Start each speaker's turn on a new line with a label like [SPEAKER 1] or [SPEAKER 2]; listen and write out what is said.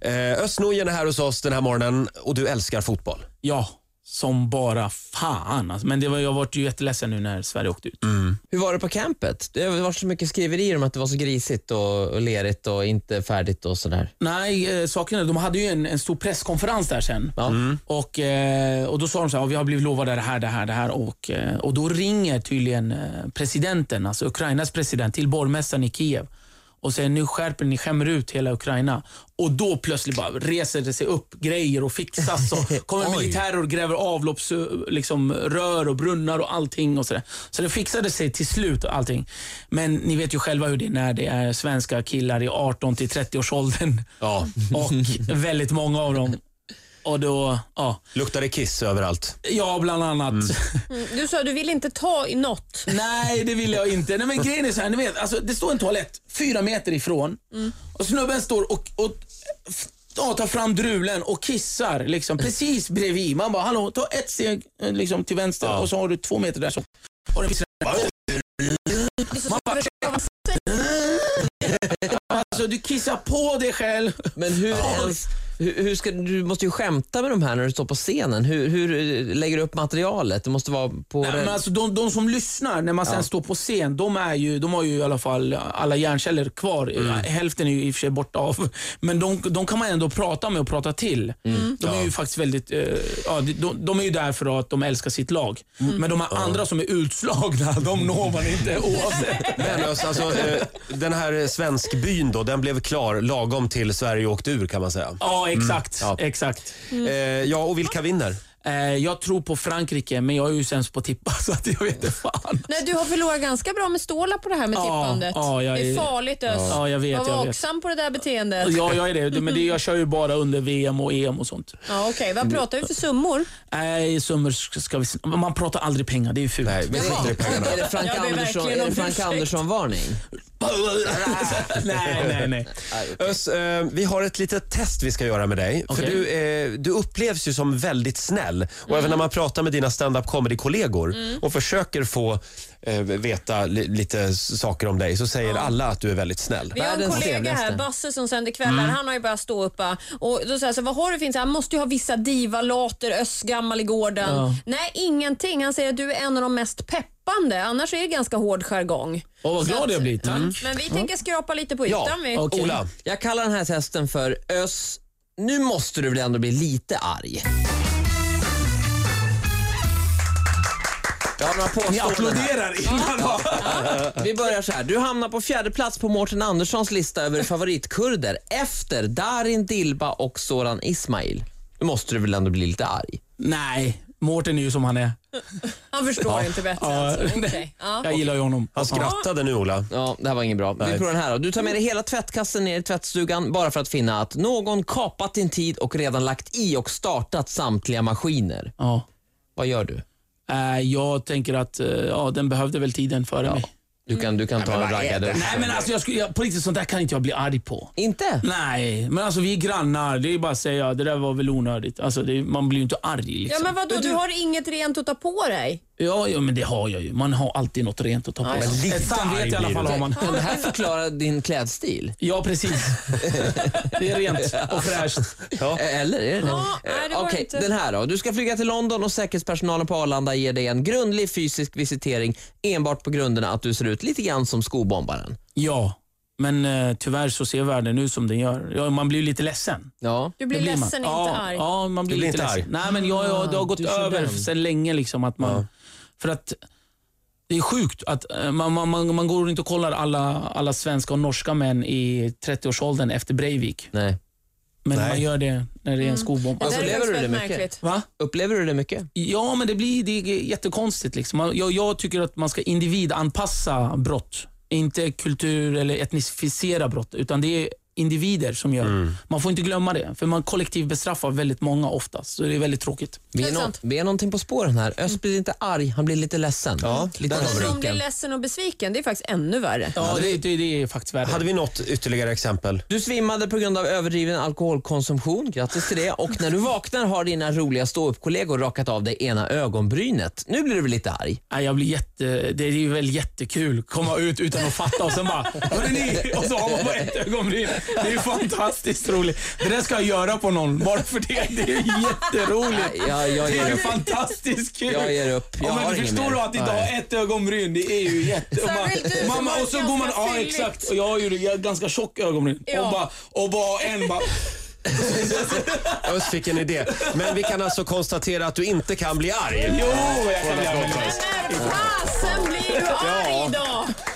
[SPEAKER 1] Eh, Östnojen är här hos oss den här morgonen och du älskar fotboll.
[SPEAKER 2] Ja, som bara fan. Alltså, men det var, jag vart ju jätteledsen nu när Sverige åkte ut.
[SPEAKER 3] Hur var det på campet? Det har varit så mycket skriverier om att det var så grisigt och, och lerigt och inte färdigt och sådär.
[SPEAKER 2] Nej, eh, saken är, de hade ju en, en stor presskonferens där sen.
[SPEAKER 3] Ja.
[SPEAKER 2] Och, eh, och Då sa de så här, "Ja, vi har blivit lovade det här, det här, det här. Och, eh, och Då ringer tydligen eh, presidenten, alltså Ukrainas president, till borgmästaren i Kiev och säger nu skärper ni, skämmer ut hela Ukraina. Och då plötsligt bara reser det sig upp grejer och fixas. Och kommer militärer och gräver avloppsrör liksom, rör och brunnar och allting. Och så, där. så det fixade sig till slut och allting. Men ni vet ju själva hur det är när det är svenska killar i 18 till 30 års åldern
[SPEAKER 1] Ja.
[SPEAKER 2] och väldigt många av dem. Och då, ja,
[SPEAKER 1] Luktar det kiss överallt?
[SPEAKER 2] ja bland annat.
[SPEAKER 4] Mm, Du sa du vill inte ta i något.
[SPEAKER 2] Nej, det vill jag inte. Nej, men grejen är så här, ni vet, alltså, det står en toalett fyra meter ifrån och snubben står och, och f- ja, tar fram drulen och kissar liksom, precis bredvid. Man bara, hallå, ta ett steg eh, liksom, till vänster och så har du två meter där. Så. Och den pissar. Man bara, alltså, du kissar på dig själv.
[SPEAKER 3] Men hur ens... Hur, hur ska, du måste ju skämta med de här när du står på scenen. Hur, hur eh, lägger du upp materialet? Det måste vara på...
[SPEAKER 2] Nej, men alltså, de, de som lyssnar när man sen står på scen, de, är ju, de har ju i alla fall alla hjärnceller kvar. Hälften är ju i och för sig borta av, men de, de kan man ändå prata med och prata till. De är ju faktiskt väldigt, eh, ja, de- de, de är ju där för att de älskar sitt lag. Men de här andra som är utslagna, de når man inte oavsett.
[SPEAKER 1] Men alltså, alltså, eh, den här svenskbyn då, den blev klar lagom till Sverige åkte ur kan man säga.
[SPEAKER 2] Ja, exakt.
[SPEAKER 1] Ja.
[SPEAKER 2] exakt.
[SPEAKER 3] Mm.
[SPEAKER 1] Eh, ja, och vilka vinner?
[SPEAKER 2] Eh, jag tror på Frankrike, men jag är ju sämst på att tippa, så att jag vet inte fan.
[SPEAKER 4] Nej, du har förlorat ganska bra med stålar på det här med
[SPEAKER 2] Ja,
[SPEAKER 4] tippandet.
[SPEAKER 2] ja, jag
[SPEAKER 4] det är
[SPEAKER 2] är-
[SPEAKER 4] farligt Ös.
[SPEAKER 2] Ja, jag vet,
[SPEAKER 4] Man
[SPEAKER 2] jag
[SPEAKER 4] var
[SPEAKER 2] vet.
[SPEAKER 4] vaksam på det där beteendet. Ja,
[SPEAKER 2] Ja, jag är det. Men det, jag kör ju bara under VM och EM och sånt.
[SPEAKER 4] Okej, vad pratar vi för summor?
[SPEAKER 2] Nej, summor ska ska vi... Man pratar aldrig pengar, det är ju fult.
[SPEAKER 1] Nej, vi skiter i pengarna.
[SPEAKER 3] Är det Frank
[SPEAKER 4] Jag ber
[SPEAKER 3] Andersson-
[SPEAKER 4] verkligen
[SPEAKER 3] är det
[SPEAKER 4] om
[SPEAKER 3] Frank
[SPEAKER 4] ursäkt.
[SPEAKER 3] Andersson-varning?
[SPEAKER 2] nej, nej, nej.
[SPEAKER 1] Ös, eh, vi har ett litet test vi ska göra med dig.
[SPEAKER 2] Okej. Mm.
[SPEAKER 1] För du, eh, du upplevs ju som väldigt snäll. Och även när man pratar med dina stand-up comedy-kollegor och försöker få eh, veta li- lite s- saker om dig så säger alla att du är väldigt snäll.
[SPEAKER 4] Vi har en
[SPEAKER 3] Världens
[SPEAKER 4] kollega här,
[SPEAKER 3] trevligaste.
[SPEAKER 4] Basse, som sänder kvällar.
[SPEAKER 2] Mm.
[SPEAKER 4] Han har ju börjat stå upp va? och då säger jag så här, vad har du för Han måste ju ha vissa divalater, öss, gammal i gården.
[SPEAKER 2] Ja.
[SPEAKER 4] Nej, ingenting. Han säger att du är en av de mest peppande. Annars är det ganska hård jargong.
[SPEAKER 2] Åh, vad
[SPEAKER 4] Så
[SPEAKER 2] glad
[SPEAKER 4] att- Mm.
[SPEAKER 2] jag blir. Tack.
[SPEAKER 4] Men vi tänker skrapa lite på
[SPEAKER 1] Ja,
[SPEAKER 4] ytan. vi.
[SPEAKER 2] okej.
[SPEAKER 1] Ola,
[SPEAKER 3] Jag kallar den här testen för Ös. Nu måste du väl ändå bli lite arg? Jag har några
[SPEAKER 2] Ni
[SPEAKER 3] påståenden här.
[SPEAKER 2] applåderar innan va?
[SPEAKER 3] Vi börjar så här. Du hamnar på fjärde plats på Mårten Anderssons lista över favoritkurder efter Darin Dilba och Soran Ismail. Nu måste du väl ändå bli lite arg?
[SPEAKER 2] Nej, Mårten är ju som han är.
[SPEAKER 4] Han förstår inte bättre. alltså. Okej. Ja.
[SPEAKER 2] Jag gillar ju honom.
[SPEAKER 1] han skrattade nu Ola.
[SPEAKER 3] Ja, det här var inget bra. Vi provar den här då. Du tar med dig hela tvättkassen ner i tvättstugan bara för att finna att någon kapat din tid och redan lagt i och startat samtliga maskiner.
[SPEAKER 2] Ja.
[SPEAKER 3] Vad gör du?
[SPEAKER 2] Eh, Jag tänker att eh, ja, den behövde väl tiden före mig.
[SPEAKER 3] Du kan, du kan ta en raggare.
[SPEAKER 2] Nej, men alltså, jag skulle, jag, på riktigt, sånt där kan inte jag bli arg på.
[SPEAKER 3] Inte?
[SPEAKER 2] Nej, men alltså vi är grannar. Det är bara att säga det där var väl onödigt. Alltså, det, man blir ju inte arg.
[SPEAKER 4] Ja,
[SPEAKER 2] Liksom.
[SPEAKER 4] men vadå, du har inget rent att ta på dig?
[SPEAKER 2] Ja, ja, men det har jag ju. Man har alltid något rent att ta på sig. Ett samvete i alla fall har man.
[SPEAKER 3] Kan det här förklara din klädstil?
[SPEAKER 2] Ja, precis. Det är rent och fräscht.
[SPEAKER 1] Ja.
[SPEAKER 3] Eh, Eller är det
[SPEAKER 4] Ja,
[SPEAKER 3] Eh,
[SPEAKER 4] nej, det var
[SPEAKER 3] Okej,
[SPEAKER 4] inte-
[SPEAKER 3] den här då. Du ska flyga till London och säkerhetspersonalen på Arlanda ger dig en grundlig fysisk visitering enbart på grunderna att du ser ut lite grann som skobombaren.
[SPEAKER 2] Ja, men eh, tyvärr så ser världen ut som den gör. Ja, man blir ju lite ledsen.
[SPEAKER 3] Ja.
[SPEAKER 4] Du blir
[SPEAKER 2] Det man.
[SPEAKER 4] ledsen,
[SPEAKER 2] ja,
[SPEAKER 4] inte arg. Ah,
[SPEAKER 2] Ja, man blir,
[SPEAKER 1] Du blir
[SPEAKER 2] lite
[SPEAKER 1] inte
[SPEAKER 2] ledsen. Nej, men jag, jag, det har gått
[SPEAKER 3] du är så
[SPEAKER 2] över
[SPEAKER 3] den.
[SPEAKER 2] sedan länge. Liksom, att man, För att det är sjukt att eh, man, man, man, man går inte och kollar alla, alla svenska och norska män i 30-årsåldern efter Breivik.
[SPEAKER 3] Nej.
[SPEAKER 2] Men
[SPEAKER 1] Nej.
[SPEAKER 2] man gör det när
[SPEAKER 4] Mm.
[SPEAKER 2] det är en skobomb.
[SPEAKER 4] Det där
[SPEAKER 3] Alltså,
[SPEAKER 4] är
[SPEAKER 3] lever
[SPEAKER 4] faktiskt
[SPEAKER 3] du det
[SPEAKER 4] väldigt
[SPEAKER 3] mycket?
[SPEAKER 4] märkligt.
[SPEAKER 2] Va?
[SPEAKER 3] Upplever du det mycket?
[SPEAKER 2] Ja, men det blir det är jättekonstigt. Liksom. Man- Jag, jag tycker att man ska individanpassa brott. Inte kultur eller etnificera brott, utan det är individer som gör Man får inte glömma det, för man kollektivt bestraffar väldigt många oftast. Så det är väldigt tråkigt.
[SPEAKER 3] Vi
[SPEAKER 4] Det
[SPEAKER 3] är,
[SPEAKER 4] är
[SPEAKER 3] nå-
[SPEAKER 4] sant.
[SPEAKER 3] vi är någonting på spåren här. Öst blir inte arg, han blir lite ledsen.
[SPEAKER 1] Ja,
[SPEAKER 3] lite
[SPEAKER 1] där har vi
[SPEAKER 4] Men om du är
[SPEAKER 3] besviken.
[SPEAKER 4] ledsen och besviken, det är faktiskt ännu värre.
[SPEAKER 2] Ja, det, det, det är faktiskt värre.
[SPEAKER 1] Hade vi något ytterligare exempel?
[SPEAKER 3] Du svimmade på grund av överdriven alkoholkonsumtion, grattis till det. Och när du vaknar har dina roliga ståuppkollegor rakat av dig ena ögonbrynet. Nu blir du väl lite arg?
[SPEAKER 2] Nej, jag blir jätte, det är ju väl jättekul att komma ut utan att fatta och sen bara Hörrni! Och så har man bara ett ögonbryn. Det är ju fantastiskt roligt. Det där ska jag göra på någon, bara för det. Det är ju jätteroligt.
[SPEAKER 3] Jag, jag
[SPEAKER 2] Det
[SPEAKER 3] ger
[SPEAKER 2] är ju
[SPEAKER 3] upp.
[SPEAKER 2] fantastiskt kul.
[SPEAKER 3] Jag ger upp. Jag
[SPEAKER 2] Ja,
[SPEAKER 3] har
[SPEAKER 2] men du
[SPEAKER 3] ingen
[SPEAKER 2] förstår
[SPEAKER 3] mer.
[SPEAKER 2] du att inte ha ett ögonbryn, det är ju jätte... Och,
[SPEAKER 4] Särskilt du som
[SPEAKER 2] mamma,
[SPEAKER 4] har
[SPEAKER 2] och så
[SPEAKER 4] ett
[SPEAKER 2] går man,
[SPEAKER 4] ganska
[SPEAKER 2] ja
[SPEAKER 4] fylligt.
[SPEAKER 2] exakt, och jag har ju det- jag har ganska tjock ögonbryn.
[SPEAKER 4] Ja.
[SPEAKER 2] Och, bara, och bara en bara...
[SPEAKER 1] Öst fick en idé. Men vi kan alltså konstatera att du inte kan bli arg.
[SPEAKER 2] Jo, jag kan bli arg.
[SPEAKER 4] När fasen blir du arg då?